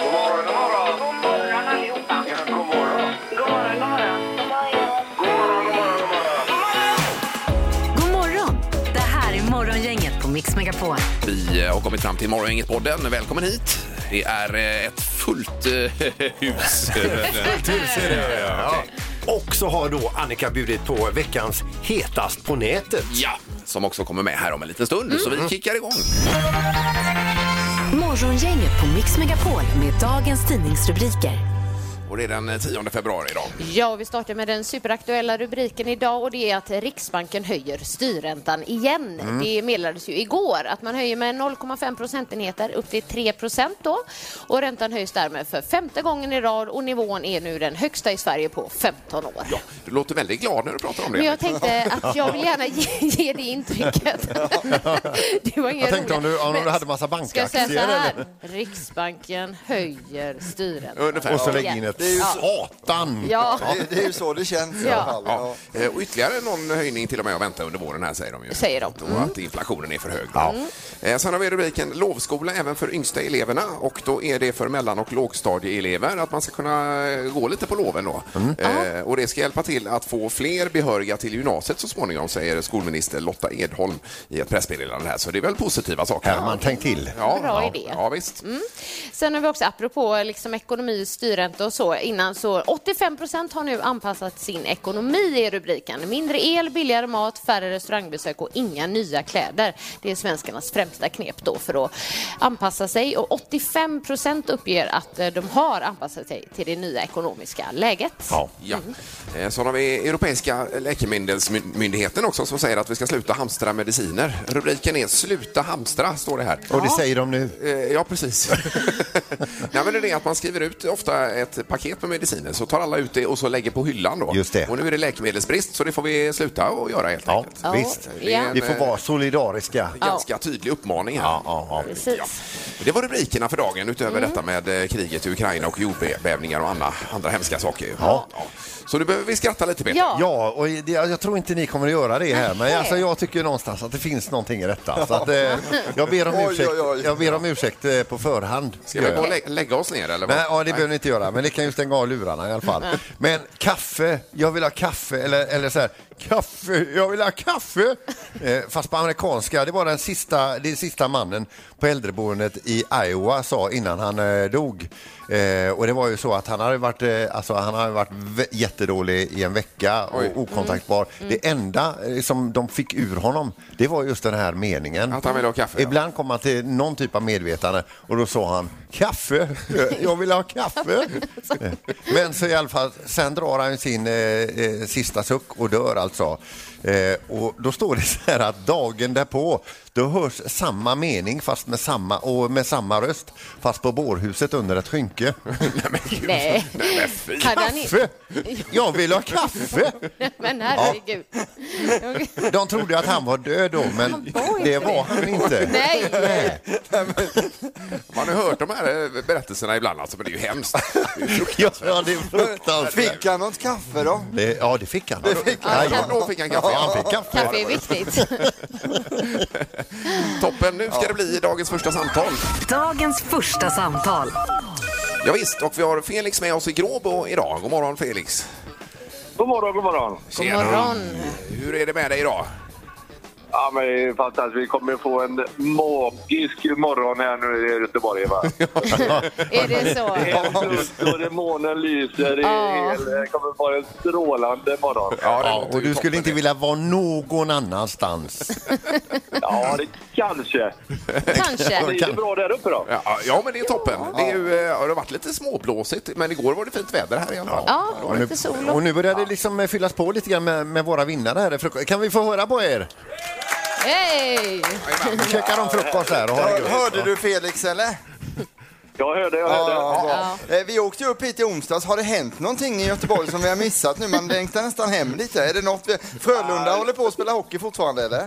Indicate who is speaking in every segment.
Speaker 1: God morgon, god morgon.
Speaker 2: God morgon allihopa.
Speaker 1: Ja, god morgon.
Speaker 2: God morgon, god morgon.
Speaker 1: God morgon, god morgon, god morgon.
Speaker 3: God morgon! Det här är Morgongänget på Mix Megapol.
Speaker 4: Vi eh, har kommit fram till Morgongänget-podden. Välkommen hit. Det är eh, ett fullt eh, hus.
Speaker 5: Ja. Och så har då Annika bjudit på veckans hetast på nätet.
Speaker 4: ja, som också kommer med här om en liten stund. Så
Speaker 6: Mm.
Speaker 4: vi kickar igång.
Speaker 3: Morgongänget på Mix Megapol med dagens tidningsrubriker.
Speaker 4: Och det är den eh, 10 februari idag.
Speaker 6: Ja, och vi startar med den superaktuella rubriken idag och det är att Riksbanken höjer styrräntan igen.
Speaker 7: Mm.
Speaker 6: Det meddelades ju igår att man höjer med 0,5 procentenheter upp till 3 procent då och räntan höjs därmed för femte gången i rad och nivån är nu den högsta i Sverige på 15 år.
Speaker 4: Ja, du låter väldigt glad när du pratar om det.
Speaker 6: Men jag tänkte att jag vill gärna ge, ge det intrycket. Det var ingen
Speaker 7: Jag tänkte om du, om
Speaker 6: Men
Speaker 7: du hade massa
Speaker 6: Ska jag säga så
Speaker 7: bankaktier eller?
Speaker 6: här? Riksbanken höjer styrräntan.
Speaker 4: Ungefär.
Speaker 7: Och så
Speaker 4: Ja.
Speaker 7: lägg in ett satan.
Speaker 6: Ja.
Speaker 8: Det, det är ju så det känns i
Speaker 6: Ja.
Speaker 8: alla fall.
Speaker 4: Ja, eh, och ytterligare någon höjning till och med att vänta under våren här säger de ju.
Speaker 6: Säger de. Mm.
Speaker 4: Och att inflationen är för hög. Eh, Sen har vi rubriken lovskola även för yngsta eleverna och då är det för mellan och lågstadieelever att man ska kunna eh, gå lite på loven då.
Speaker 6: Mm.
Speaker 4: Eh, och det ska hjälpa till att få fler behöriga till gymnasiet så småningom säger skolminister Lotta Edholm i ett pressmeddelande här. Så det är väl positiva saker.
Speaker 7: Här man tänkt till.
Speaker 4: Ja,
Speaker 6: Bra
Speaker 4: ja,
Speaker 6: idé.
Speaker 4: ja visst.
Speaker 6: Sen har vi också, apropå liksom ekonomi, styrränta och så, innan så 85 procent har nu anpassat sin ekonomi i rubriken. Mindre el, billigare mat, färre restaurangbesök och inga nya kläder. Det är svenskarnas främsta knep då för att anpassa sig och 85 procent uppger att eh, de har anpassat sig till det nya ekonomiska läget.
Speaker 7: Ja.
Speaker 4: Ja. Eh, Så har vi Europeiska läkemedelsmyndigheten också som säger att vi ska sluta hamstra mediciner. Rubriken är Sluta hamstra, står det här.
Speaker 7: Och det säger de nu.
Speaker 4: Eh, Ja, precis. Nej, men det är det att man skriver ut ofta ett paket med mediciner så tar alla ut det och så lägger på hyllan då.
Speaker 7: Just det.
Speaker 4: Och nu är det läkemedelsbrist så det får vi sluta att göra helt
Speaker 7: Ja,
Speaker 4: enkelt.
Speaker 7: visst.
Speaker 6: Det är en,
Speaker 7: Vi får vara solidariska.
Speaker 4: Ganska tydlig uppmaning här.
Speaker 7: Ja, ja, ja.
Speaker 6: Precis.
Speaker 4: Det var rubrikerna för dagen utöver detta med eh, kriget i Ukraina och jordbävningar och andra, andra hemska saker.
Speaker 7: Ja.
Speaker 4: Så nu behöver vi skratta lite Peter.
Speaker 6: Ja.
Speaker 7: Ja, och det, jag tror inte ni kommer att göra det här, men alltså, jag tycker någonstans att det finns någonting i detta. Så att, eh, jag, ber om
Speaker 8: Oj,
Speaker 7: ursäkt,
Speaker 8: oj, oj.
Speaker 7: jag ber om ursäkt eh, på förhand. Eh,
Speaker 4: Ska vi gå och lä lägga oss ner eller? vad?
Speaker 7: Nej, ja, det behöver ni inte göra, men ni kan ju stänga av lurarna i alla fall. Men kaffe, jag vill ha kaffe, eller, eller så här, kaffe, jag vill ha kaffe! Eh, fast på amerikanska, det var den sista, det sista mannen på äldreboendet i Iowa sa innan han eh, dog. Eh, och det var ju så att han hade varit, eh, alltså, han hade varit vä- jättedålig i en vecka och
Speaker 4: Oj.
Speaker 7: okontaktbar. Det enda eh, som de fick ur honom, det var just den här meningen.
Speaker 4: Att han ville ha kaffe, ja.
Speaker 7: Ibland kom han till någon typ av medvetande och då sa han kaffe, jag vill ha kaffe. Men så i alla fall, sen drar han sin eh, eh, sista suck och dör alltså. Eh, och då står det så här att dagen därpå, då hörs samma mening fast med samma, och med samma röst, fast på bårhuset under ett skynke.
Speaker 4: Nej, men gud.
Speaker 6: Nej.
Speaker 4: Nej, men fy.
Speaker 6: Hade han i-
Speaker 7: Kaffe! Jag vill ha kaffe!
Speaker 6: Men herregud.
Speaker 7: De trodde att han var död då, men det var han inte.
Speaker 6: Nej.
Speaker 4: Man har hört de här eh, berättelserna ibland alltså, men det är ju hemskt. Det är ju
Speaker 7: Ja,
Speaker 4: fruktansvärt.
Speaker 7: det är fruktansvärt.
Speaker 8: Fick han något kaffe då?
Speaker 7: Det, ja, det fick han.
Speaker 4: Ja,
Speaker 7: Ja, ja.
Speaker 4: Då fick han kaffe.
Speaker 7: Ja, han fick kaffe.
Speaker 6: Kaffe är viktigt.
Speaker 4: Toppen, nu ska det bli dagens första samtal.
Speaker 3: Dagens första samtal.
Speaker 4: Ja, visst, och vi har Felix med oss i Gråbo idag. God morgon Felix.
Speaker 1: God morgon, god morgon.
Speaker 6: God
Speaker 4: Tjena.
Speaker 6: morgon.
Speaker 4: Hur är det med dig idag?
Speaker 1: Ja, men det är fantastiskt. Vi kommer få en magisk morgon här nu i Göteborg. Va?
Speaker 6: Är det så?
Speaker 1: Det är fullt och det månen lyser. Det, är hel- det kommer vara en strålande morgon.
Speaker 4: det
Speaker 7: Ja,
Speaker 4: låter
Speaker 7: och
Speaker 4: ju
Speaker 7: du skulle
Speaker 4: toppen.
Speaker 7: inte vilja vara någon annanstans.
Speaker 1: Ja, det kanske.
Speaker 6: Kanske.
Speaker 1: Det är bra där uppe då.
Speaker 4: Ja, ja, men det är toppen. Det är ju, eh, har det varit lite småblåsigt, men igår var det fint väder här i alla fall.
Speaker 6: Ja,
Speaker 7: Och nu,
Speaker 6: lite sol
Speaker 7: och
Speaker 6: och...
Speaker 7: nu börjar det liksom eh, fyllas på lite grann med, med våra vinnare här. i fruk- Kan vi få höra på er?
Speaker 6: Hej!
Speaker 7: Nu käkar de frukost här och har det
Speaker 8: Hör,
Speaker 7: gött.
Speaker 8: hörde du Felix eller?
Speaker 1: Jag hörde, jag
Speaker 8: Ja,
Speaker 1: hörde.
Speaker 8: ja, bra. Eh, Vi åkte ju upp hit i onsdags. Har det hänt någonting i Göteborg som vi har missat nu? Man längtar nästan hem lite. Är det något vi... Frölunda håller på att spela hockey fortfarande eller?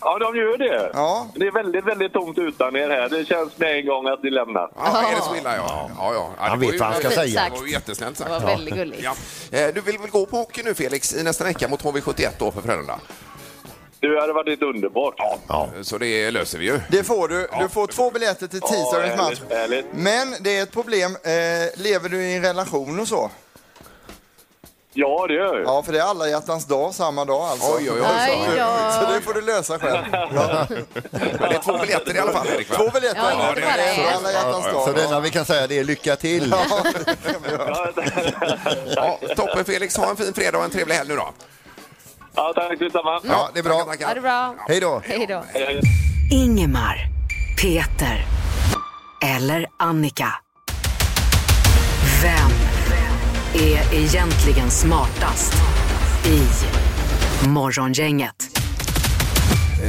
Speaker 1: Ja, de gör det.
Speaker 8: Ja.
Speaker 1: Det är väldigt, väldigt tomt utan er här. Det känns med en gång att ni lämnar.
Speaker 4: Ja, är det så illa? Ja. Ja, ja. Ja,
Speaker 7: Han
Speaker 4: det
Speaker 7: vet
Speaker 4: var ju-
Speaker 7: vad han ska
Speaker 4: det var ju
Speaker 6: säga.
Speaker 4: Jättesnällt
Speaker 6: Det
Speaker 4: sagt.
Speaker 6: var väldigt gulligt.
Speaker 4: Ja. Eh, Du vill väl gå på hockey nu Felix i nästa vecka mot HV71 då för Frölunda? Eh,
Speaker 1: Du, det hade varit underbart.
Speaker 7: Ja.
Speaker 4: Så det löser vi ju.
Speaker 8: Det får du. Du får två biljetter till tisdagens
Speaker 1: Ja,
Speaker 8: match.
Speaker 1: härligt, härligt.
Speaker 8: Men det är ett problem. Eh, lever du i en relation och så?
Speaker 1: Ja, det gör jag.
Speaker 8: Ja, för det är alla hjärtans dag samma dag alltså.
Speaker 4: Oj, oj, oj.
Speaker 6: Aj
Speaker 4: så.
Speaker 6: då.
Speaker 8: Så det får du lösa själv.
Speaker 4: Men det är två biljetter i alla fall, Erik. va?
Speaker 8: Två biljetter.
Speaker 6: Ja, inte bara
Speaker 8: det är
Speaker 6: en.
Speaker 8: alla hjärtans dag.
Speaker 7: Så det enda vi kan säga det är lycka till.
Speaker 1: Ja,
Speaker 4: Ja, toppen Felix, ha en fin fredag och en trevlig helg nu då.
Speaker 1: ja, tack detsamma.
Speaker 7: Ja, det är bra.
Speaker 4: Tackar,
Speaker 6: Ha
Speaker 4: tackar.
Speaker 6: det bra.
Speaker 7: Hej då.
Speaker 6: Hej då.
Speaker 1: Hej.
Speaker 3: Ingemar, Peter eller Annika. Vem är egentligen smartast i Morgongänget?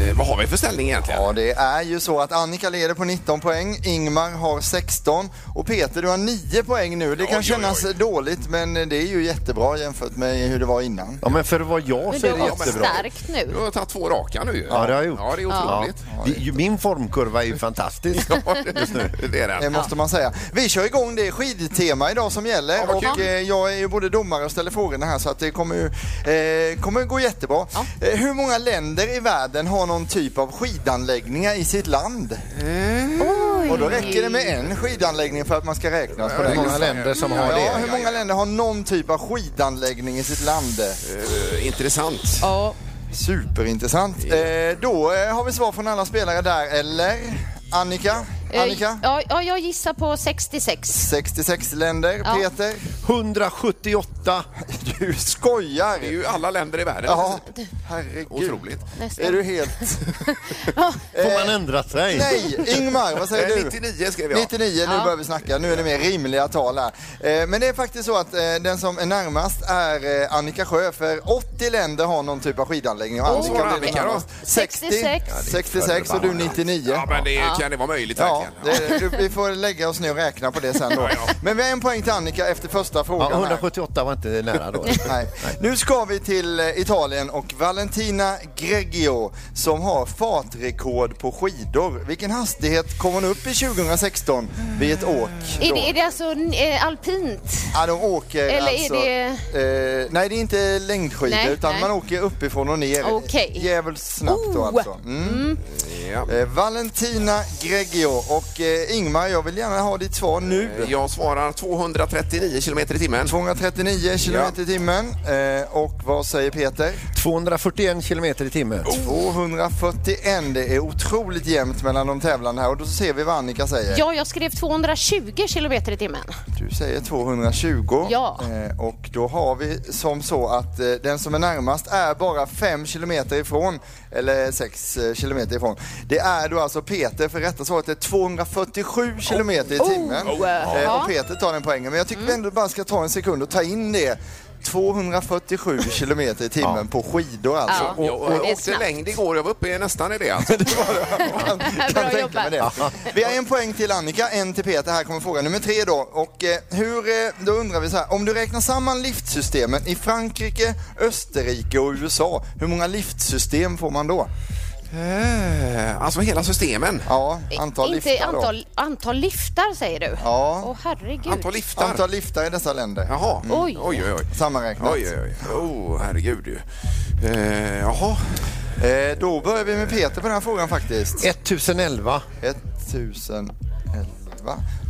Speaker 4: Eh, Vad har vi för ställning egentligen?
Speaker 8: Ja, det är ju så att Annika leder på 19 poäng, Ingmar har 16 och Peter du har 9 poäng nu. Det kan
Speaker 4: Oj, oj,
Speaker 8: kännas
Speaker 4: oj.
Speaker 8: dåligt men det är ju jättebra jämfört med hur det var innan.
Speaker 7: Ja, men för att vara jag
Speaker 6: Men
Speaker 7: så
Speaker 6: du
Speaker 7: är det
Speaker 6: har gått
Speaker 7: jättebra.
Speaker 6: starkt
Speaker 4: Du
Speaker 6: nu.
Speaker 4: har tagit två raka nu ju.
Speaker 7: Ja, det har jag gjort.
Speaker 4: Ja, det är otroligt.
Speaker 7: Det- ju- Min formkurva är ju fantastisk.
Speaker 4: Ja, det är
Speaker 8: Det
Speaker 4: den.
Speaker 8: måste man säga. Vi kör igång, det är skidtema idag som gäller
Speaker 4: Ja, vad
Speaker 8: och
Speaker 4: kul.
Speaker 8: eh, jag är ju både domare och ställer frågorna här så att det kommer, ju, eh, kommer gå jättebra. Eh, hur många länder i världen har någon typ av skidanläggningar i sitt land?
Speaker 4: Mm.
Speaker 8: Och då räcker det med en skidanläggning för att man ska räknas på
Speaker 7: Hur
Speaker 8: den.
Speaker 7: många länder som har
Speaker 8: Ja,
Speaker 7: det.
Speaker 8: hur många länder har någon typ av skidanläggning i sitt land?
Speaker 4: Eh, Intressant.
Speaker 6: Ja.
Speaker 8: Superintressant. Eh, då eh, har vi svar från alla spelare där, eller? Annika?
Speaker 6: Eh,
Speaker 8: Annika?
Speaker 6: Ja, ja, jag gissar på 66.
Speaker 8: 66 länder.
Speaker 6: Ja.
Speaker 8: Peter?
Speaker 7: 178.
Speaker 8: Du skojar!
Speaker 4: Det är ju alla länder i världen.
Speaker 8: Ja, herregud.
Speaker 4: Otroligt.
Speaker 6: Nästan.
Speaker 8: Är du helt...
Speaker 7: Får man ändra sig?
Speaker 8: Nej, Ingmar, vad säger
Speaker 4: Eh,
Speaker 8: du?
Speaker 4: 99 skrev jag.
Speaker 8: 99, nu börjar vi snacka. Nu är det mer rimliga tal här. Eh, Men det är faktiskt så att eh, den som är närmast är eh, Annika Sjö, för 80 länder har någon typ av skidanläggning. Och Annika
Speaker 4: Svarar
Speaker 8: blir
Speaker 4: Annika då?
Speaker 8: närmast. 60,
Speaker 6: 66.
Speaker 8: 66 och du 99.
Speaker 4: Ja, men det kan det vara möjligt
Speaker 8: Ja,
Speaker 4: verkligen.
Speaker 8: det, är- du, vi får lägga oss ner och räkna på det sen då.
Speaker 4: Ja, ja.
Speaker 8: Men vi har en poäng till Annika efter första
Speaker 7: Ja,
Speaker 8: frågan. här.
Speaker 7: 178 var inte nära då.
Speaker 8: Nej. Nu ska vi till eh, Italien och Valentina Greggio som har fartrekord på skidor. Vilken hastighet kom hon upp i 2016 vid ett åk?
Speaker 6: Är
Speaker 8: då?
Speaker 6: det, är det alltså eh, alpint?
Speaker 8: Ja, de åker
Speaker 6: Eller är
Speaker 8: alltså...
Speaker 6: det-
Speaker 8: Eh, nej, det är inte längdskidor
Speaker 6: Nej,
Speaker 8: utan
Speaker 6: nej.
Speaker 8: man åker uppifrån och ner.
Speaker 6: Okej.
Speaker 8: Jävligt snabbt då
Speaker 6: Oh.
Speaker 8: alltså. Mm.
Speaker 4: Ja.
Speaker 8: Eh, Valentina Greggio och eh, Ingmar, jag vill gärna ha ditt svar nu.
Speaker 4: Jag svarar 239 kilometer i timmen.
Speaker 8: 239 kilometer i timmen. Eh, och vad säger Peter?
Speaker 7: 241 kilometer i timmen.
Speaker 8: 241. Det är otroligt jämnt mellan de tävlande här och då ser vi vad Annika säger.
Speaker 6: Ja, jag skrev 220 kilometer i timmen.
Speaker 8: Du säger 220.
Speaker 6: Ja.
Speaker 8: Eh, och då har vi som så att eh, den som är närmast är bara 5 kilometer ifrån, eller 6 eh, kilometer ifrån. Det är då alltså Peter, för rätta svaret är 247 kilometer i timmen.
Speaker 6: Oh, eh,
Speaker 8: Eh,
Speaker 6: ja. Mm.
Speaker 8: och Peter tar den poängen, men jag tycker vi ändå bara ska ta en sekund och ta in det. 247 kilometer i timmen på skidor alltså.
Speaker 6: Ja.
Speaker 4: Och, och,
Speaker 6: Det är
Speaker 4: jag åkte
Speaker 6: snabbt.
Speaker 4: längd igår, jag var uppe i nästan i det. Alltså.
Speaker 8: kan,
Speaker 6: Bra
Speaker 8: kan tänka mig
Speaker 6: jobbat.
Speaker 8: det. Vi har en poäng till Annika, en till Peter. Här kommer fråga nummer tre då. Och eh, hur, eh, då undrar vi så här, om du räknar samman liftsystemen i Frankrike, Österrike och USA, hur många liftsystem får man då?
Speaker 4: Eh, alltså hela systemen.
Speaker 8: Ja, antal
Speaker 6: inte
Speaker 8: liftar då.
Speaker 6: antal, antal liftar säger du?
Speaker 8: Ja.
Speaker 6: Åh herregud.
Speaker 4: Antal liftar.
Speaker 8: Antal liftar i dessa länder.
Speaker 4: Jaha.
Speaker 6: Mm. Oj.
Speaker 4: Oj, oj, oj.
Speaker 8: Sammanräknat.
Speaker 4: Oj, oj, oj. Oh, herregud du. Eh, jaha.
Speaker 8: Eh, då börjar vi med Peter på den här frågan faktiskt.
Speaker 7: 1011.
Speaker 8: 1011.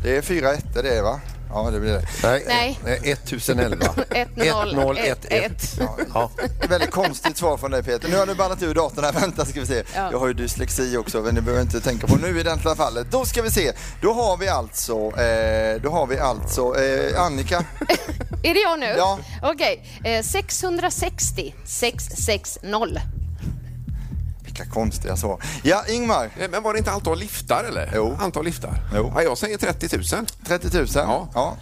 Speaker 8: Det är fyra ettor det va? Ja, det blir det.
Speaker 6: Nej.
Speaker 7: eh, 1011.
Speaker 6: 1011.
Speaker 7: Ja.
Speaker 8: Väldigt konstigt svar från dig Peter. Nu har du ballat ur datorn här, vänta ska vi se. Jag har ju dyslexi också men det behöver jag inte tänka på nu i det här fallet. Då ska vi se, då har vi alltså, eh, då har vi alltså eh, Annika.
Speaker 6: Är det jag nu?
Speaker 8: Ja.
Speaker 6: Okej. Eh, 660 660.
Speaker 8: Vilka konstiga svar. Ja, Ingmar.
Speaker 4: Eh, Men var det inte antal liftar eller?
Speaker 8: Jo.
Speaker 4: Antal liftar?
Speaker 8: Jo.
Speaker 4: Ja, jag säger 30 000.
Speaker 8: 30 000.
Speaker 4: Ja.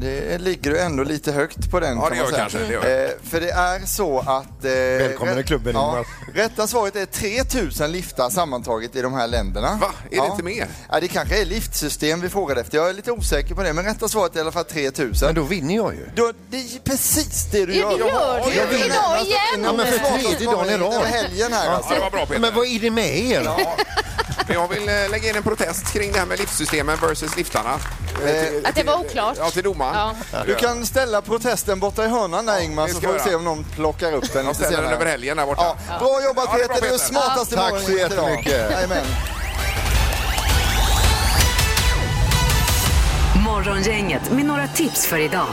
Speaker 8: Det ligger du ändå lite högt på den
Speaker 4: Ja,
Speaker 8: kan
Speaker 4: det
Speaker 8: man
Speaker 4: gör
Speaker 8: säga.
Speaker 4: kanske, det gör.
Speaker 8: Eh, för det är så att... Eh,
Speaker 7: Välkommen i klubben, Ingmar.
Speaker 8: Rätta svaret är 3000 liftar sammantaget i de här länderna.
Speaker 4: Va? Är det inte mer?
Speaker 8: Ja, det kanske är liftsystem vi frågar efter. Jag är lite osäker på det, men rätta svaret är i alla fall 3000.
Speaker 7: Men då vinner jag ju.
Speaker 8: Då, det är ju precis det du
Speaker 6: Ja,
Speaker 8: gör.
Speaker 6: det gör du ju idag igen.
Speaker 7: Ja, men för tredje dagen i rad.
Speaker 8: Över helgen här alltså.
Speaker 4: Ja, det var bra Peter.
Speaker 7: Men vad är det med er?
Speaker 4: Jag vill eh, lägga in en protest kring det här med liftsystemen versus liftarna. Eh,
Speaker 6: Att det var oklart.
Speaker 4: Ja, till domaren.
Speaker 6: Ja.
Speaker 8: Du kan ställa protesten borta i hörnan där Ingmar
Speaker 4: det
Speaker 8: så
Speaker 4: ska
Speaker 8: får vi
Speaker 4: jag
Speaker 8: se
Speaker 4: göra.
Speaker 8: om någon plockar upp den
Speaker 4: Jag
Speaker 8: lite
Speaker 4: ställer den
Speaker 8: senare.
Speaker 4: över helgen där borta.
Speaker 8: Ja. Bra jobbat
Speaker 4: Ja, det är bra,
Speaker 8: Peter, du är
Speaker 4: Peter.
Speaker 8: smartaste
Speaker 7: Tack så
Speaker 8: morgonen idag.
Speaker 7: jättemycket.
Speaker 8: Jajamän.
Speaker 3: Morgongänget med några tips för idag.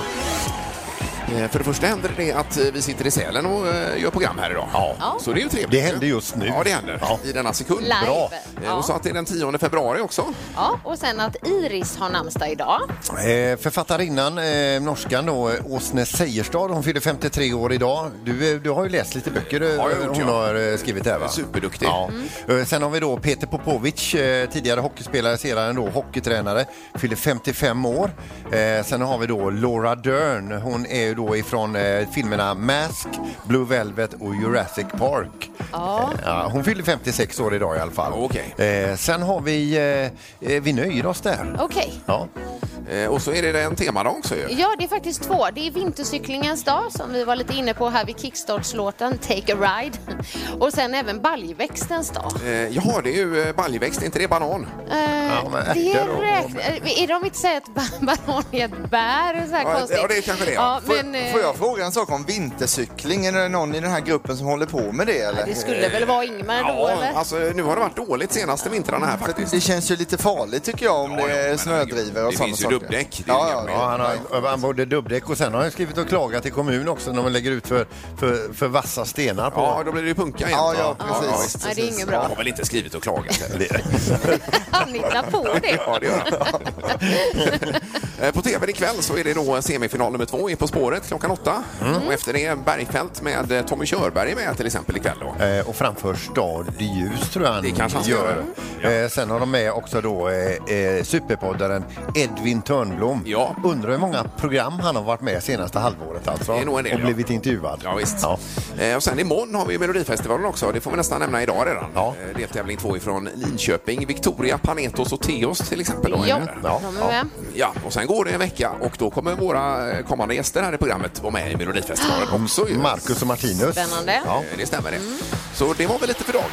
Speaker 4: Eh, För det första händer det att eh, vi sitter i Sälen och eh, gör program här idag. Ja. Så det är ju trevligt.
Speaker 7: Det händer just nu.
Speaker 4: Ja, det händer.
Speaker 7: Ja.
Speaker 4: I denna sekund.
Speaker 6: Live.
Speaker 4: Bra.
Speaker 6: Ja.
Speaker 4: Eh, Och så att det är den 10 februari också.
Speaker 6: Ja, och sen att Iris har namnsdag idag.
Speaker 7: Eh, författarinnan, eh, norskan då, eh, Åsne Seierstad, hon fyller 53 år idag. Du, eh, du har ju läst lite böcker eh,
Speaker 4: jag har gjort,
Speaker 7: hon
Speaker 4: ja.
Speaker 7: har eh, skrivit här va?
Speaker 4: Superduktig. Mm.
Speaker 7: Ja. Eh, Sen har vi då Peter Popovic, eh, tidigare hockeyspelare, sedan då hockeytränare, fyller 55 år. Eh, Sen har vi då Laura Dern, hon är ju då ifrån eh, filmerna Mask, Blue Velvet och Jurassic Park.
Speaker 6: Ja.
Speaker 7: Eh, Ja, hon fyller 56 år idag i alla fall.
Speaker 4: Okej.
Speaker 7: Eh, Sen har vi, eh, eh, vi nöjer oss där.
Speaker 6: Okej.
Speaker 7: Ja.
Speaker 4: Eh, Och så är det en temadag också ju.
Speaker 6: Ja, det är faktiskt två. Det är vintercyklingens dag som vi var lite inne på här vid kickstartslåten Take a Ride. Och sen även baljväxtens dag.
Speaker 4: Eh, Ja, det är ju eh, baljväxt, inte det banan?
Speaker 6: Eh,
Speaker 7: Ja, men
Speaker 6: det
Speaker 7: ärtor och-
Speaker 6: räkn- eh, Är de inte säga att ba- banan är ett bär? Så här
Speaker 4: Ja,
Speaker 6: konstigt.
Speaker 4: ja, det är kanske det, ja.
Speaker 6: Ja,
Speaker 8: Får,
Speaker 6: men, eh,
Speaker 8: får jag fråga en sak om vintercykling? Är det någon i den här gruppen som håller på med det eller?
Speaker 6: Det skulle väl vara Ingmar då, eller?
Speaker 4: alltså nu har det varit dåligt senaste vintrarna här faktiskt.
Speaker 8: Det känns ju lite farligt tycker jag om
Speaker 4: Ja,
Speaker 8: det
Speaker 4: ja,
Speaker 8: är
Speaker 4: men
Speaker 8: snödrivor och
Speaker 4: det
Speaker 8: sådana
Speaker 4: finns ju
Speaker 8: saker.
Speaker 4: dubbdäck, det är
Speaker 8: Ja,
Speaker 4: inga
Speaker 8: ja,
Speaker 4: problem.
Speaker 7: Ja,
Speaker 8: ja.
Speaker 7: han har han både dubbdäck och sen har han skrivit och klagat till kommunen också när man lägger ut för, för, för vassa stenar på.
Speaker 4: Ja, då blir det ju punka igen.
Speaker 8: Ja, ja, precis.
Speaker 4: visst.
Speaker 6: Nej, det är inget
Speaker 4: Jag
Speaker 6: bra.
Speaker 4: har väl inte skrivit och klagat heller.
Speaker 6: Han hittar på det.
Speaker 4: Ja, det gör jag. Eh, På tv ikväll så är det då semifinal nummer två i På spåret klockan åtta.
Speaker 7: Mm.
Speaker 4: Och efter det är Bergfeldt med eh, Tommy Körberg med till exempel ikväll då.
Speaker 7: Eh, Och framför Stad i ljus tror jag han
Speaker 4: Det kanske han ska
Speaker 7: gör. Eh, Sen har de med också då eh, eh, superpoddaren Edvin Törnblom.
Speaker 4: Ja.
Speaker 7: Undrar hur många program han har varit med senaste halvåret alltså.
Speaker 4: Det är nog en del,
Speaker 7: och
Speaker 4: ja.
Speaker 7: blivit intervjuad.
Speaker 4: Ja, visst.
Speaker 7: Ja.
Speaker 4: Eh, Och sen imorgon har vi ju Melodifestivalen också. Det får vi nästan nämna idag redan.
Speaker 7: Ja.
Speaker 4: Eh, Deltävling två ifrån Linköping. Victoria, Panetos och Theos till exempel. Då, är
Speaker 6: Ja,
Speaker 4: med där.
Speaker 7: Ja,
Speaker 6: de
Speaker 7: ja.
Speaker 6: är med.
Speaker 4: Ja, och sen går det en vecka och då kommer våra eh, kommande gäster här i programmet vara med i Melodifestivalen också. ju.
Speaker 7: Marcus och Martinus.
Speaker 6: Spännande.
Speaker 7: Ja.
Speaker 4: Eh, Det stämmer det. Så det var väl lite för dagen.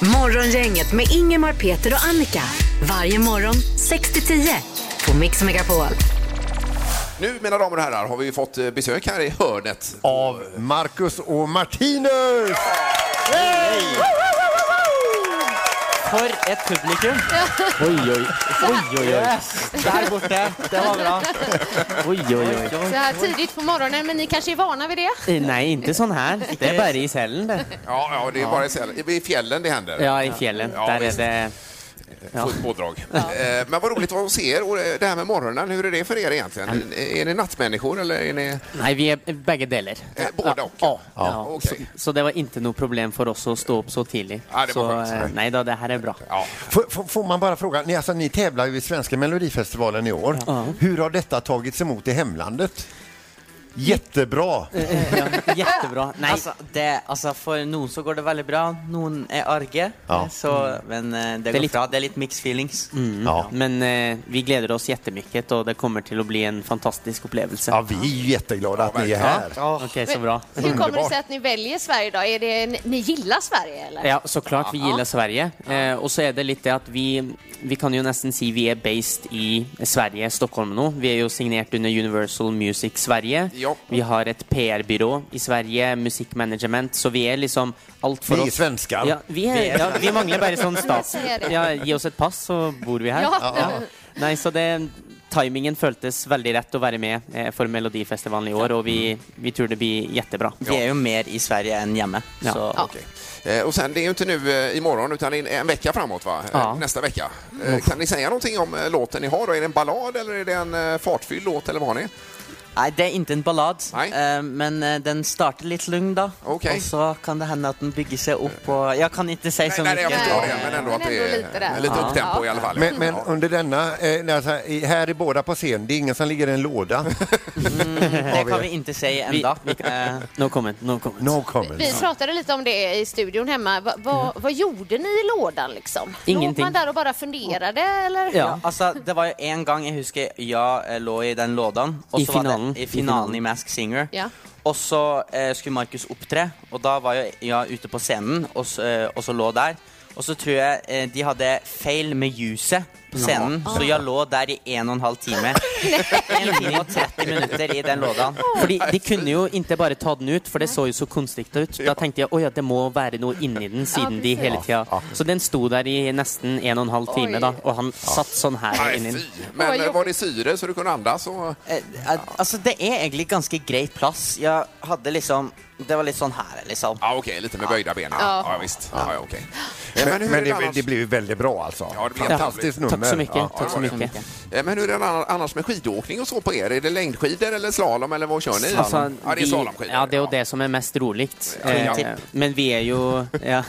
Speaker 3: Morgongänget med Ingemar, Peter och Annika. Varje morgon 6 till 10 på Mix Megapol.
Speaker 4: Nu, mina damer och herrar, har vi ju fått eh, besök här i hörnet.
Speaker 7: Av Marcus och Martinus! Yay!
Speaker 9: För ett publikum. Oj, oj, oj, oj, oj. Där borta, det var bra. Oj, oj, oj.
Speaker 6: Så här tidigt på morgonen, men ni kanske är vana vid det?
Speaker 9: Eh, Nej, inte sån här. Det är bara i cellen det.
Speaker 4: Ja, ja det är bara i, Sälen- i fjällen det händer.
Speaker 9: Ja, i fjällen.
Speaker 4: Ja,
Speaker 9: Där
Speaker 4: visst.
Speaker 9: är det... Ja.
Speaker 4: Fullt pådrag. Eh, Men vad roligt att se er. Och eh, det här med morgonen, hur är det för er egentligen? Är ni nattmänniskor eller är ni...
Speaker 9: Nej, vi är bägge delar.
Speaker 4: Eh, båda och?
Speaker 9: Ja.
Speaker 4: Ja,
Speaker 9: ja.
Speaker 4: okej.
Speaker 9: Så, så det var inte något problem för oss att stå upp så tidigt.
Speaker 4: Ja, det var
Speaker 9: så,
Speaker 4: skönt.
Speaker 9: eh, nej då, det här är bra.
Speaker 4: Ja.
Speaker 7: Får, får- får man bara fråga, ni, alltså, ni tävlar ju i Svenska Melodifestivalen i år. Hur har detta tagits emot i hemlandet? Jättebra!
Speaker 9: Eh, Ja, jättebra. Nej. Alltså, det, alltså, for noen så går det veldig bra. Noen er arge.
Speaker 7: Ja.
Speaker 9: Så, men eh, det, går bra. Det er litt mixed feelings.
Speaker 7: Ja.
Speaker 9: Men eh, vi gleder oss jättemycket, och det kommer till att bli en fantastisk upplevelse.
Speaker 7: Ja, vi är ju jätteglada att ni är här.
Speaker 9: Ja. Okej, så bra.
Speaker 6: Men Hur kommer det
Speaker 7: Underbart.
Speaker 6: sig att ni väljer Sverige idag? Är det, ni- ni gillar Sverige eller?
Speaker 9: Ja, såklart vi gillar Sverige. Eh, och så är det lite att vi, vi kan ju nästan säga vi är based i Sverige, Stockholm nu. Vi är ju signerat under Universal Music Sverige.
Speaker 4: Ja.
Speaker 9: Vi har ett PR-byrå i Sverige, musikmanagement, så vi är liksom allt för
Speaker 7: Ni är
Speaker 9: oss.
Speaker 7: svenskar.
Speaker 9: Ja, vi, är, ja, vi mangler bare sånn stats...
Speaker 6: Jeg ser det.
Speaker 9: Ja, gi oss et pass, så bor vi her.
Speaker 6: Ja.
Speaker 9: Nei, så det Timingen føltes veldig rett å være med eh, for Melodifestivalen i år, og vi, vi tror det blir jättebra. Vi er jo mer i Sverige enn hjemme. Ja.
Speaker 6: Ja.
Speaker 4: Eh, Och sen, det är ju inte nu eh, imorgon utan en- en vecka framåt va? Eh,
Speaker 9: Ja.
Speaker 4: Nästa vecka. Eh, Kan ni säga någonting om eh, låten ni har då? Är det en ballad eller är det en eh, fartfylld låt eller vad har ni?
Speaker 9: Nei, det er ikke en ballad, eh,
Speaker 4: Nei.
Speaker 9: men den starter litt lung, da.
Speaker 4: Ok. Og
Speaker 9: så kan det hende at den bygger seg opp og Jeg kan ikke si
Speaker 4: Nej, nej, jag förstår det, men ändå
Speaker 6: Men
Speaker 4: att det
Speaker 6: ändå
Speaker 4: är
Speaker 6: lite där.
Speaker 4: lite
Speaker 6: Ja.
Speaker 4: upptempo
Speaker 6: Ja.
Speaker 4: i alla fall.
Speaker 7: Men, men under denna, eh, när så här- i- här är båda på scen, det är ingen som ligger i en låda.
Speaker 9: Mm, Det kan vi ikke si Eh, ennå. No comment. No comment.
Speaker 7: No
Speaker 6: Vi
Speaker 7: comments.
Speaker 6: pratade lite om det i studion hemma. Va, va, Vad gjorde ni i lådan liksom? Låg
Speaker 9: Ingenting.
Speaker 6: man där och bara funderade eller?
Speaker 9: Alltså, Ja, altså, det var jo en gang jeg husker jeg eh, lå i den lådan. og
Speaker 10: I
Speaker 9: så var det-
Speaker 10: finalen.
Speaker 9: i finalen i Mask Singer.
Speaker 6: Ja.
Speaker 9: Og så eh, skulle Markus opptre, og da var jo jeg ute på scenen og, s- eh, og så lå der. Og så tror jeg eh, de hadde feil med juset på scenen, så jeg lå der i en og en halv time. En time og 30 minutter i den lådaen. Fordi de kunne jo ikke bare ta den ut, for det så jo så kunstig ut. Da tenkte jeg at det må være noe inni den, siden de hele tida Så den sto der i nesten en og en halv time, da, og han satt sånn her
Speaker 4: Nej,
Speaker 9: inni
Speaker 4: fy.
Speaker 9: den.
Speaker 4: Men
Speaker 6: Oj,
Speaker 4: eh,
Speaker 6: jo.
Speaker 4: var det syre så du kunde andas? Och...
Speaker 9: Eh, eh, altså, det er egentlig ganske greit plass. Jeg hadde liksom Det var litt sånn her, liksom.
Speaker 4: Ja, okej, lite med böjda benen. Ja, visst. Ja, ja, okej.
Speaker 7: Men,
Speaker 4: hur är
Speaker 7: men
Speaker 4: det
Speaker 7: det,
Speaker 4: annars?
Speaker 7: det blev ju väldigt bra alltså.
Speaker 4: Ja, det blev
Speaker 7: Fantastiskt nummer.
Speaker 9: Takk så mye.
Speaker 7: Ja.
Speaker 9: Takk så mye.
Speaker 4: Eh, Men hur är det anna- annars med skidåkning och så på er? Är det längdskidor eller slalom eller vad kör ni?
Speaker 9: Altså,
Speaker 4: ja, det är
Speaker 9: Alltså, vi-
Speaker 4: slalomskidor.
Speaker 9: ja, det er jo det som er mest roligt.
Speaker 4: Ja.
Speaker 9: Eh, men vi er jo ja,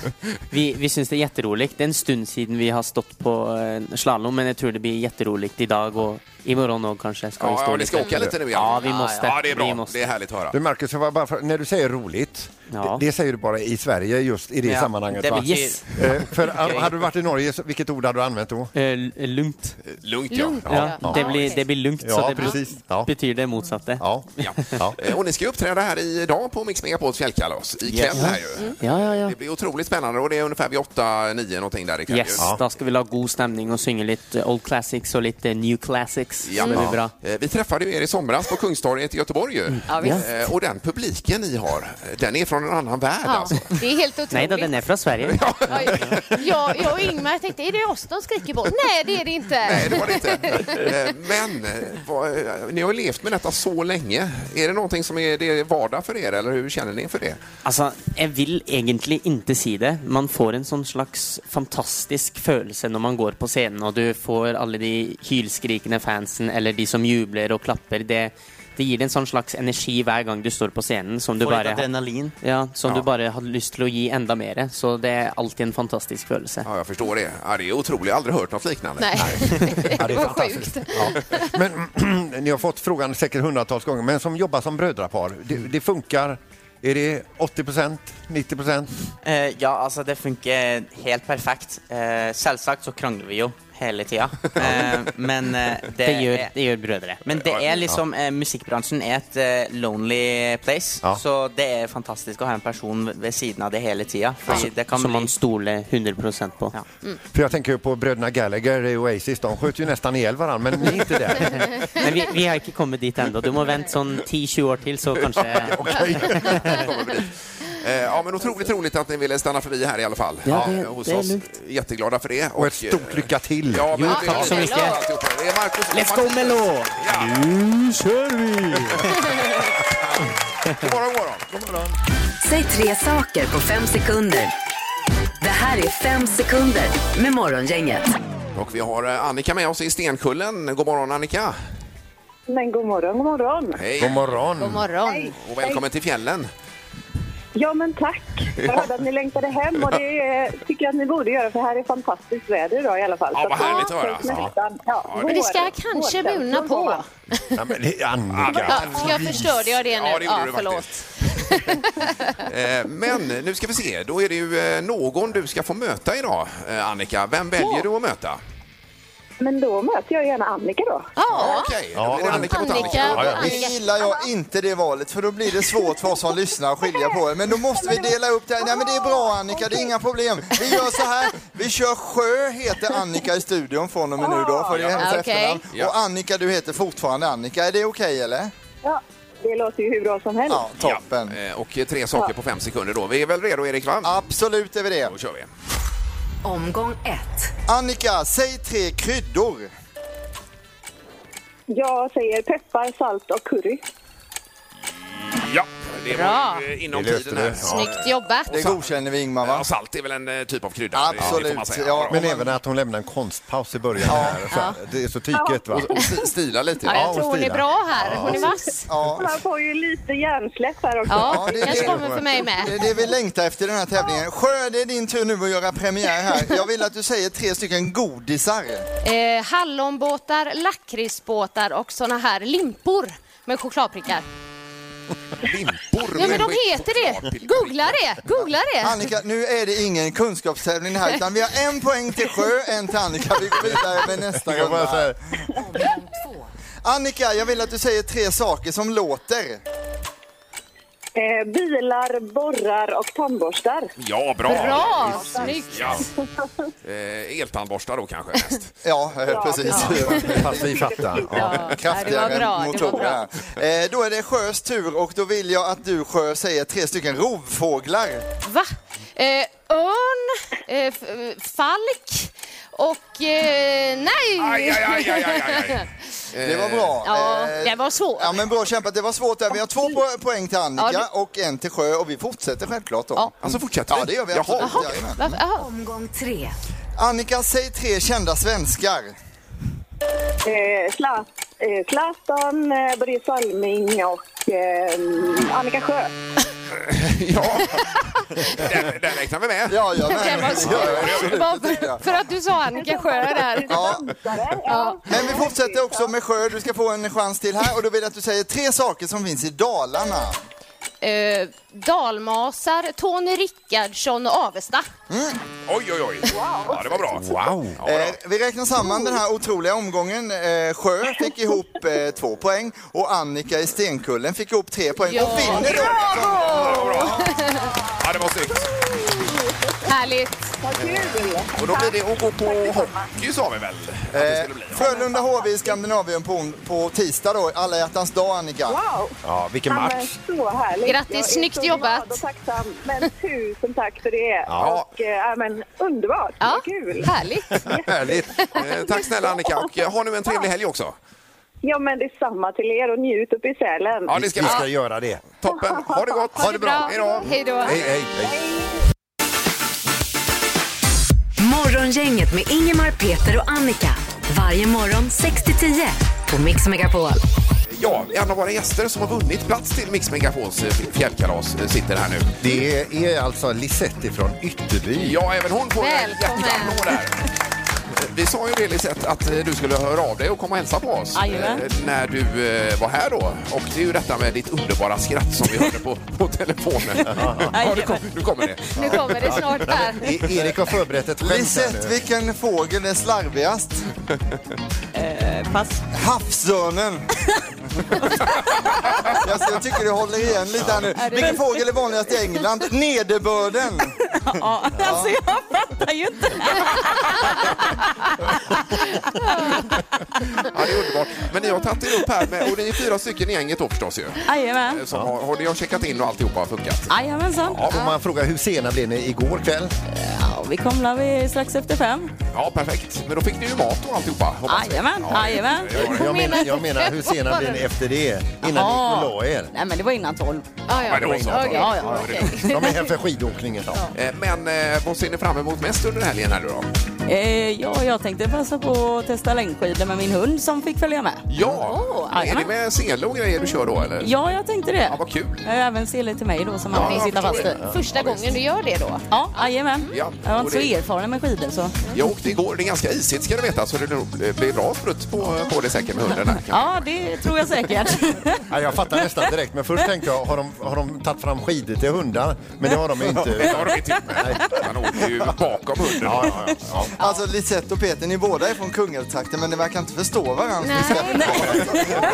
Speaker 9: Vi, vi syns det er jätteroligt. Det er en stund siden vi har stått på eh, slalom, men jeg tror det blir jätteroligt i dag og i morgen òg, kanskje. Skal vi
Speaker 4: Ja,
Speaker 9: stå
Speaker 4: ja, ni ska
Speaker 9: lite.
Speaker 4: åka lite nu igen.
Speaker 9: Ja, vi måste.
Speaker 4: Ja, det är
Speaker 9: Vi
Speaker 4: bra.
Speaker 9: måste.
Speaker 4: Det är härligt att höra.
Speaker 7: Du Marcus, jag var bara för, när du säger roligt,
Speaker 9: Ja.
Speaker 7: det, det säger du bara i Sverige just i det
Speaker 9: Ja,
Speaker 7: sammanhanget
Speaker 9: det
Speaker 7: va?
Speaker 9: betyder- Yes.
Speaker 7: Eh, för eh, hade du varit i Norge, så- vilket ord hade du använt då?
Speaker 9: Eh, lugnt.
Speaker 4: Lugnt, ja.
Speaker 6: Lugnt.
Speaker 9: Ja,
Speaker 6: ja.
Speaker 9: det,
Speaker 6: Ja,
Speaker 9: blir,
Speaker 6: okej.
Speaker 9: det blir lugnt, så
Speaker 7: Ja,
Speaker 9: det blir,
Speaker 7: precis. Ja.
Speaker 9: betyr det motsatte.
Speaker 7: Ja.
Speaker 4: Ja.
Speaker 7: Ja.
Speaker 4: Eh, Och ni ska ju uppträda här idag på Mix Megapols fjällkalas ikväll
Speaker 9: Yes.
Speaker 4: här ju.
Speaker 9: Ja, ja, ja.
Speaker 4: Det blir otroligt spännande och det är ungefär vid 8-9 någonting där ikväll.
Speaker 9: Yes,
Speaker 4: ju.
Speaker 9: da skal vi la god stemning og synge litt eh, old classics och lite new classics.
Speaker 4: Ja.
Speaker 9: Så det blir bra.
Speaker 4: Eh, Vi träffade ju er i somras på Kungstorget i Göteborg ju.
Speaker 6: Ja, visst.
Speaker 4: Eh, Och den publiken ni har, eh, den är från en annan värld
Speaker 6: Ja,
Speaker 4: alltså.
Speaker 6: det är helt otroligt.
Speaker 9: Nei da, den er fra Sverige.
Speaker 6: Oj, jag, jag och Ingmar tänkte, är det oss de skriker på? Nej, det är det inte.
Speaker 4: Nej, det var det inte. Eh, Men eh, vad, eh, ni har ju levt med detta så länge. Är det någonting som är det är vardag för er eller hur känner ni inför det?
Speaker 9: Altså, jeg vil egentlig ikke si det. Man får en sånn slags fantastisk følelse når man går på scenen, og du får alle de hylskrikende fansen eller de som jubler og klapper. Det, det gir deg en sånn slags energi hver gang du står på scenen som du
Speaker 10: Får
Speaker 9: bare
Speaker 10: litt adrenalin.
Speaker 9: ja, som du bare har lyst til å gi enda mer. Så det er alltid en fantastisk følelse.
Speaker 4: Ja, jag förstår det. Ja, det är otroligt. Jag har aldrig hört något liknande.
Speaker 6: Nej,
Speaker 7: Ja, det är
Speaker 6: Vad
Speaker 7: fantastiskt. Ja. Men ni har fått frågan säkert hundratals gånger, men som jobbar som brödrapar, det, det funkar? Är det 80 procent, 90 procent?
Speaker 10: Eh, ja, altså, det funker helt perfekt. Eh, selvsagt så krangler vi jo hele tida. Eh, men eh, det,
Speaker 9: Det gjør,
Speaker 10: er-
Speaker 9: det gjør brødre.
Speaker 10: Men det er liksom eh, Musikkbransjen er et eh, lonely place.
Speaker 7: Ja.
Speaker 10: Så det er fantastisk å ha en person ved- ved siden av det hele tida. Fordi det kan
Speaker 9: Alltså, Som
Speaker 10: bli
Speaker 9: man stoler 100 på.
Speaker 10: Ja.
Speaker 7: För jag tänker ju på bröderna Gallagher i Oasis, de sköt ju nästan ihjäl varandra, men ni är inte där.
Speaker 9: Men vi, vi har ikke kommet dit ennå. Du må vente sånn 10-20 år til, så kanskje
Speaker 4: Kommer vi dit. Eh, Ja, men otroligt roligt att ni ville stanna förbi här i alla fall.
Speaker 9: Ja, det-
Speaker 4: eh, hos
Speaker 9: det är
Speaker 4: oss.
Speaker 9: lugnt.
Speaker 4: Jätteglada för det.
Speaker 7: Och ett stort
Speaker 4: eh,
Speaker 7: lycka till!
Speaker 4: Ja, men
Speaker 9: Jo,
Speaker 4: det-
Speaker 9: tack så
Speaker 4: det-
Speaker 9: mycket.
Speaker 4: Det är Marcus
Speaker 9: Let's go, Melo!
Speaker 4: God morgon, god morgon.
Speaker 3: Säg tre saker på fem sekunder. Det här är fem sekunder med Morgongänget.
Speaker 4: Och vi har eh, Annika med oss i Stenkullen. God morgon Annika!
Speaker 2: Men god morgon, god morgon.
Speaker 7: God
Speaker 4: Hej
Speaker 6: God
Speaker 7: morgon!
Speaker 6: morgon.
Speaker 4: och välkommen till fjällen!
Speaker 2: Ja, men tack. Jag hörde att ni längtade hem och det eh, tycker jag att ni borde göra för här är fantastiskt väder idag i alla fall.
Speaker 4: Ja,
Speaker 2: Så
Speaker 4: vad härligt att höra.
Speaker 2: ses nästan. Ja,
Speaker 6: Men det ska jag
Speaker 2: vår-
Speaker 6: kanske
Speaker 2: vårkänsla
Speaker 6: bjudna på,
Speaker 2: då.
Speaker 6: va?
Speaker 7: Ja, men det är
Speaker 6: Ja,
Speaker 7: Annika!
Speaker 6: jag förstörde jag det nu?
Speaker 4: Ja, det gjorde du
Speaker 6: förlåt.
Speaker 4: Eh, Men nu ska vi se, då är det ju eh, någon du ska få möta idag, eh, Annika. Vem väljer du att möta?
Speaker 2: Men då möter jag gärna Annika då.
Speaker 6: Ja,
Speaker 4: Okej, då blir det
Speaker 7: Ja,
Speaker 4: Annika mot
Speaker 6: Annika
Speaker 4: Annika.
Speaker 6: och
Speaker 7: ja.
Speaker 8: Nu
Speaker 6: Annika.
Speaker 8: gillar jag inte det valet för då blir det svårt för oss som lyssnar att skilja på er. Men då måste vi dela upp det här. Nej men det är bra Annika, det är inga problem. Vi gör så här, vi kör Sjö heter Annika i studion från och med nu
Speaker 2: Ah.
Speaker 8: då för det är hennes
Speaker 6: Ja, okej.
Speaker 8: efternamn.
Speaker 4: Ja.
Speaker 8: Och Annika du heter fortfarande Annika, är det okej eller?
Speaker 2: Ja, det låter ju hur bra som helst.
Speaker 8: Ja, toppen.
Speaker 4: Eh, Och eh, tre saker på fem sekunder då. Vi är väl redo, Erik? Va?
Speaker 8: Absolut är vi det.
Speaker 4: Då kör vi.
Speaker 3: Omgång ett.
Speaker 8: Annika, säg tre kryddor.
Speaker 2: Jag säger peppar, salt och curry.
Speaker 4: Ja, det
Speaker 6: Bra.
Speaker 4: var ju eh, inom
Speaker 7: Det löste
Speaker 4: tiden här.
Speaker 7: det.
Speaker 4: Ja.
Speaker 6: Snyggt jobbat.
Speaker 8: Det godkänner vi Ingmar
Speaker 4: Ja,
Speaker 8: va?
Speaker 4: salt är väl en eh, typ av krydda?
Speaker 8: Absolut,
Speaker 4: Det får man säga.
Speaker 8: ja.
Speaker 4: Ja,
Speaker 7: Men även att hon lämnar en konstpaus i början här. Så här. Det är så tyket va?
Speaker 4: då. Och sti- stila lite.
Speaker 6: Ja,
Speaker 7: Ja,
Speaker 6: jag
Speaker 7: och
Speaker 6: tror hon är
Speaker 7: Stina.
Speaker 6: bra här. Hon är vass.
Speaker 8: Ja.
Speaker 2: Man får ju lite hjärnsläpp här också.
Speaker 6: Ja,
Speaker 8: Ja, det
Speaker 6: det
Speaker 8: är
Speaker 6: kanske
Speaker 8: det.
Speaker 6: kommer för mig
Speaker 8: Det
Speaker 6: med.
Speaker 8: är det vi längtar efter i den här tävlingen. Sjö, det är din tur nu att göra premiär här. Jag vill att du säger tre stycken godisar.
Speaker 6: Eh, hallonbåtar, lakritsbåtar och såna här limpor med chokladprickar.
Speaker 4: Limpor
Speaker 6: Ja,
Speaker 4: med
Speaker 6: men de
Speaker 4: skick-
Speaker 6: heter det.
Speaker 4: chokladpilleri.
Speaker 6: Googla det. Googla det.
Speaker 8: Annika, nu är det ingen kunskapstävling här utan vi har en poäng till Sjö, en till Annika. Vi går vidare med nästa
Speaker 7: Jag bara så
Speaker 8: runda.
Speaker 7: här,
Speaker 3: Omgång två.
Speaker 8: Annika, jag vill att du säger tre saker som låter.
Speaker 2: Eh, bilar, borrar och tandborstar.
Speaker 4: Ja, bra!
Speaker 6: Bra! Snyggt!
Speaker 4: Ja. Eh, eltandborstar då kanske mest.
Speaker 8: Ja, eh, precis.
Speaker 7: Fast vi fattar. Ja.
Speaker 6: Ja,
Speaker 8: Kraftigare
Speaker 6: det var bra,
Speaker 8: än
Speaker 6: det var bra.
Speaker 8: motorer. Eh, då är det Sjös tur och då vill jag att du Sjö säger tre stycken rovfåglar.
Speaker 6: Va? Eh, örn, eh, f- eh, falk och... Eh, nej!
Speaker 4: Aj, aj, aj, aj, aj, aj, aj.
Speaker 8: Det var bra.
Speaker 6: Ja,
Speaker 8: Eh,
Speaker 6: det var svårt.
Speaker 8: Ja men bra kämpat, det var svårt där. Vi har två po- poäng till Annika
Speaker 6: Ja,
Speaker 8: och en till Sjö och vi fortsätter självklart då.
Speaker 6: Ja.
Speaker 4: Alltså fortsätter vi?
Speaker 8: Ja det gör vi
Speaker 4: Jaha.
Speaker 8: absolut.
Speaker 4: Jaha.
Speaker 8: Jajamän.
Speaker 6: Va? Jaha.
Speaker 3: Omgång tre.
Speaker 8: Annika, säg tre kända svenskar.
Speaker 2: Eh, Zla- eh, Zlatan, eh, Börje Salming och eh, Annika Sjö.
Speaker 4: ja, den, den räknar vi med.
Speaker 8: Ja, jag
Speaker 6: Den var
Speaker 8: med.
Speaker 6: svår.
Speaker 8: Ja, absolut.
Speaker 6: Bara för, för att du sa Annika Sjö där.
Speaker 8: Ja,
Speaker 2: Dansare, ja.
Speaker 8: men vi fortsätter också med Sjö. Du ska få en chans till här och då vill jag att du säger tre saker som finns i Dalarna.
Speaker 6: Eh, dalmasar, Tony Rickardsson och Avesta.
Speaker 4: Oj, oj, oj. Ja, det var bra.
Speaker 7: Wow.
Speaker 4: Ja,
Speaker 8: Eh,
Speaker 4: bra.
Speaker 8: vi räknar samman den här otroliga omgången. Eh, Sjö fick ihop eh, två poäng och Annika i Stenkullen fick ihop tre poäng
Speaker 6: Ja.
Speaker 8: och vinner då.
Speaker 4: Ja, det var snyggt.
Speaker 6: Härligt.
Speaker 2: Vad kul!
Speaker 4: Och då blir det att gå på hockey sa vi väl? Att det skulle bli.
Speaker 8: Eh, Frölunda HV i Skandinavien på, på tisdag då, alla hjärtans dag Annika.
Speaker 2: Wow!
Speaker 7: Ja, vilken
Speaker 2: Ja, men
Speaker 7: match.
Speaker 2: så härligt.
Speaker 6: Grattis,
Speaker 2: Jag är
Speaker 6: snyggt
Speaker 2: så
Speaker 6: jobbat.
Speaker 2: glad och tacksam. Men tusen tack för det.
Speaker 4: Ja.
Speaker 2: Och, eh, ja, men, underbart,
Speaker 6: Ja,
Speaker 2: vad kul.
Speaker 6: härligt.
Speaker 4: Härligt. Eh, tack snälla Annika och eh, ha nu en trevlig helg också.
Speaker 2: Ja, men detsamma till er och njut uppe i Sälen.
Speaker 4: Ja, det ska
Speaker 7: Vi
Speaker 4: vi.
Speaker 7: ska göra det.
Speaker 4: Toppen. Ha det gott.
Speaker 6: Ha det bra.
Speaker 4: Hej då.
Speaker 6: Hej då.
Speaker 7: Hej, hej, hej.
Speaker 3: Morgongänget med Ingemar, Peter och Annika. Varje morgon 6-10 på Mix Megapol.
Speaker 4: Ja, en av våra gäster som har vunnit plats till Mix Megapols eh, fjällkalas eh, sitter här nu.
Speaker 7: Det är alltså Lisette från Ytterby.
Speaker 4: Ja, även hon får en
Speaker 6: Välkommen.
Speaker 4: jätteapplåd där. Eh, Vi sa ju det Lisette, att eh, du skulle höra av dig och komma och hälsa på oss
Speaker 10: Jajamän.
Speaker 4: eh, när du eh, var här då. Och det är ju detta med ditt underbara skratt som vi hörde på, på telefonen. ja, nu, kom, nu kommer det.
Speaker 6: Nu kommer det snart här.
Speaker 7: E- Erik har förberett ett skämt här
Speaker 8: Lisette,
Speaker 7: nu.
Speaker 8: vilken fågel är slarvigast?
Speaker 10: Pass.
Speaker 8: Havsörnen! jag, jag tycker du håller igen lite här nu. Vilken fågel är vanligast i England? Nederbörden!
Speaker 10: Ja, alltså jag fattar ju inte.
Speaker 4: Ja, det är underbart. Men ni har tagit er upp här med, och ni är fyra stycken i gänget då förstås ju.
Speaker 10: Jajamän.
Speaker 4: Så har, har ni har checkat in och alltihopa har
Speaker 3: Ah.
Speaker 4: funkat.
Speaker 10: Jajamensan.
Speaker 7: Får man fråga hur sena blev ni igår kväll?
Speaker 10: Ja, vi kom la vi strax efter fem.
Speaker 4: Ja, perfekt. Men då fick ni ju mat och alltihopa. hoppas jag.
Speaker 10: Jajamän, jajamän.
Speaker 4: Ja, ja, ja.
Speaker 7: Jag menar, jag
Speaker 6: menar-
Speaker 7: menar hur sena blev ni efter det? Innan ni gick och la er?
Speaker 10: Nej, men det var innan tolv.
Speaker 6: Ja, ja.
Speaker 4: Men det var snart.
Speaker 6: Okej.
Speaker 10: Ja, ja,
Speaker 6: Okej.
Speaker 7: De är här för skidåkningen.
Speaker 4: Eh, Men eh, vad ser ni fram emot mest under helgen här nu då?
Speaker 10: Eh, ja, jag tänkte passa på att testa längdskidor med min hund som fick följa med.
Speaker 4: Ja,
Speaker 10: Åh,
Speaker 4: är det
Speaker 10: jajamän.
Speaker 4: med sele och grejer du kör då eller?
Speaker 10: Ja, jag tänkte det.
Speaker 4: Ja, vad kul.
Speaker 10: Jag har även sele till mig då som han
Speaker 4: Ja,
Speaker 10: får sitta
Speaker 4: jag
Speaker 10: fast i.
Speaker 4: förstår
Speaker 6: Första gången du gör det då?
Speaker 10: Ja, jajamän.
Speaker 4: Ja,
Speaker 10: Jag var
Speaker 4: och
Speaker 10: inte så
Speaker 4: det-
Speaker 10: erfaren med skidor så.
Speaker 4: Jag åkte igår, det är ganska isigt ska du veta, så det nog blir bra sprutt på, på det säkert med hunden där.
Speaker 10: Ja, det tror jag säkert.
Speaker 7: Ja, jag fattar nästan direkt, men först tänkte jag, har de, har de tagit fram skidor till hundar? Men det har de
Speaker 4: Det
Speaker 7: inte.
Speaker 4: har de inte gjort med. Han åker ju bakom hunden.
Speaker 7: Ja, ja, ja.
Speaker 8: Alltså Lisette och Peter, ni båda är från Kungälvstrakten men ni verkar inte förstå varandra.
Speaker 7: Men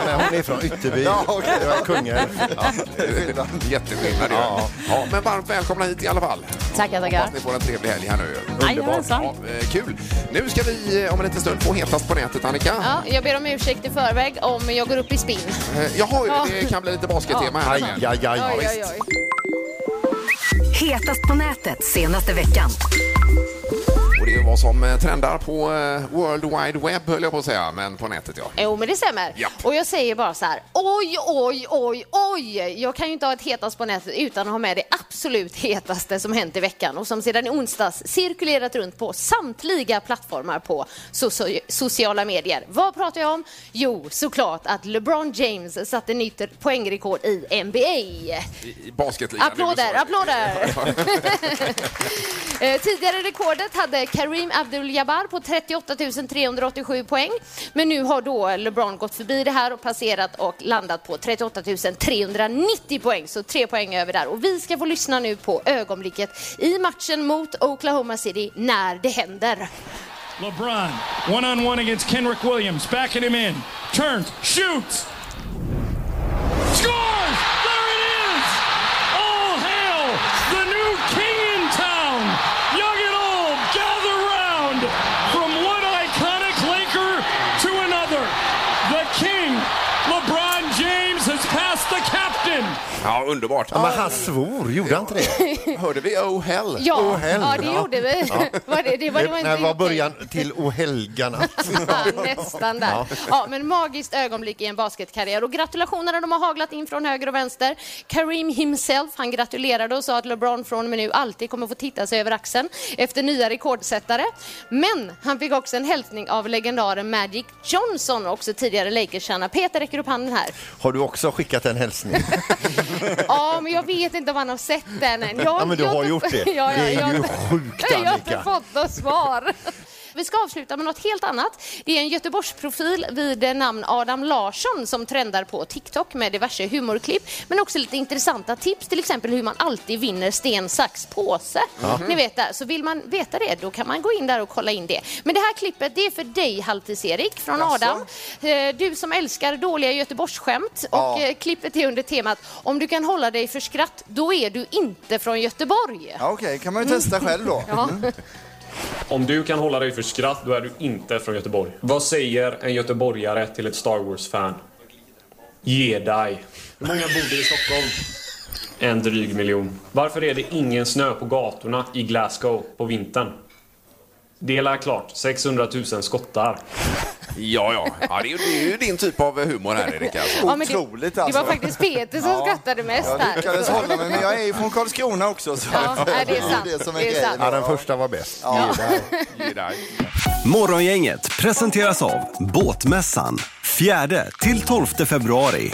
Speaker 7: hon är från Ytterby.
Speaker 8: Ja, okej.
Speaker 7: Det var Kungälv. Ja.
Speaker 4: Jätteskillnad det ja. ja, Men varmt välkomna hit i alla fall.
Speaker 6: Tackar, tackar.
Speaker 4: Hoppas ni får en trevlig helg här nu.
Speaker 10: Jajamensan.
Speaker 4: Ja, eh, kul. Nu ska vi eh, om en liten stund få hetast på nätet, Annika.
Speaker 6: Ja, jag ber om ursäkt i förväg om jag går upp i spinn.
Speaker 4: Eh, Jaha,
Speaker 6: Ja.
Speaker 4: det kan bli lite baskettema här.
Speaker 7: Aj,
Speaker 4: igen.
Speaker 7: aj, aj.
Speaker 6: Oj, oj,
Speaker 7: visst.
Speaker 6: oj.
Speaker 3: Hetast på nätet senaste veckan.
Speaker 4: Och det är ju vad som eh, trendar på eh, World Wide Web, höll jag på att säga, men på nätet ja.
Speaker 6: Jo, men det stämmer.
Speaker 4: Ja.
Speaker 6: Och jag säger bara så här, oj, oj, oj, oj. Jag kan ju inte ha ett hetast på nätet utan att ha med det absolut hetaste som hänt i veckan och som sedan i onsdags cirkulerat runt på samtliga plattformar på socio- sociala medier. Vad pratar jag om? Jo, såklart att LeBron James satte nytt poängrekord i NBA.
Speaker 4: I, i basketligan.
Speaker 6: Applåder, applåder! Eh, Tidigare rekordet hade Kareem Abdul-Jabbar på 38 387 poäng. Men nu har då LeBron gått förbi det här och passerat och landat på 38 390 poäng. Så tre poäng över där. Och vi ska få lyssna nu på ögonblicket i matchen mot Oklahoma City när det händer.
Speaker 11: LeBron, one on one against Kenrick Williams, backing him in, turns, shoots, scores! There it is! All hail the new king in town! Young and old, gather round! From one iconic Laker to another, the king, LeBron James, has passed the captain!
Speaker 4: Ja, underbart.
Speaker 7: Ja, men han svor, gjorde han inte det?
Speaker 4: Hörde vi Oh Hell?
Speaker 6: Ja,
Speaker 7: Åh,
Speaker 6: ja
Speaker 7: helvete.
Speaker 6: det gjorde vi. Var det, det var, det var inte
Speaker 7: Det här var
Speaker 6: riktigt-
Speaker 7: början till ohelgarna.
Speaker 6: Ja, nästan där. Ja. men magiskt ögonblick i en basketkarriär. Och gratulationerna de har haglat in från höger och vänster. Kareem himself, han gratulerade och sa att LeBron från och med nu alltid kommer få titta sig över axeln efter nya rekordsättare. Men han fick också en hälsning av legendaren Magic Johnson, också tidigare Lakers-stjärna. Peter räcker upp handen här.
Speaker 7: Har du också skickat en hälsning?
Speaker 6: Ja, men jag vet inte om han har sett den än. Jag,
Speaker 7: Ja, men du
Speaker 6: jag
Speaker 7: har
Speaker 6: inte-
Speaker 7: gjort det.
Speaker 6: Ja, ja,
Speaker 7: Det är
Speaker 6: jag,
Speaker 7: ju sjukt,
Speaker 6: Jag har
Speaker 7: Annika.
Speaker 6: inte fått något svar. Vi ska avsluta med något helt annat. Det är en Göteborgsprofil vid eh, namn Adam Larsson som trendar på TikTok med diverse humorklipp, men också lite intressanta tips, till exempel hur man alltid vinner sten, sax, påse. Ni vet det. Så vill man veta det, då kan man gå in där och kolla in det. Men det här klippet, det är för dig, Halvtids-Erik, från Adam. Eh, Du som älskar dåliga Göteborgsskämt. Och eh, klippet är under temat Om du kan hålla dig för skratt, då är du inte från Göteborg.
Speaker 12: Ja, Okej, kan man ju testa
Speaker 6: Mm.
Speaker 12: själv då.
Speaker 6: Ja.
Speaker 11: Om du kan hålla dig för skratt, då är du inte från Göteborg. Vad säger en göteborgare till ett Star Wars-fan? Ge dig. Hur många bor det i Stockholm? En dryg miljon. Varför är det ingen snö på gatorna i Glasgow på vintern? Det är väl klart 600 000 skottar.
Speaker 4: Ja, ja. ja det, är ju, det är ju din typ av humor här, Erik. Alltså.
Speaker 6: Ja, men det-
Speaker 12: Otroligt
Speaker 6: Det
Speaker 12: alltså.
Speaker 6: var faktiskt Peter som skrattade mest
Speaker 12: Jag lyckades
Speaker 6: här.
Speaker 12: hålla mig, men jag är ju från Karlskrona också. Så
Speaker 6: Ja, nej, det är sant.
Speaker 12: det som är
Speaker 6: Det är
Speaker 12: grejen.
Speaker 6: sant.
Speaker 7: Ja, den första var bäst.
Speaker 4: Ge dig.
Speaker 1: Morgongänget presenteras av Båtmässan 4 till 12 februari.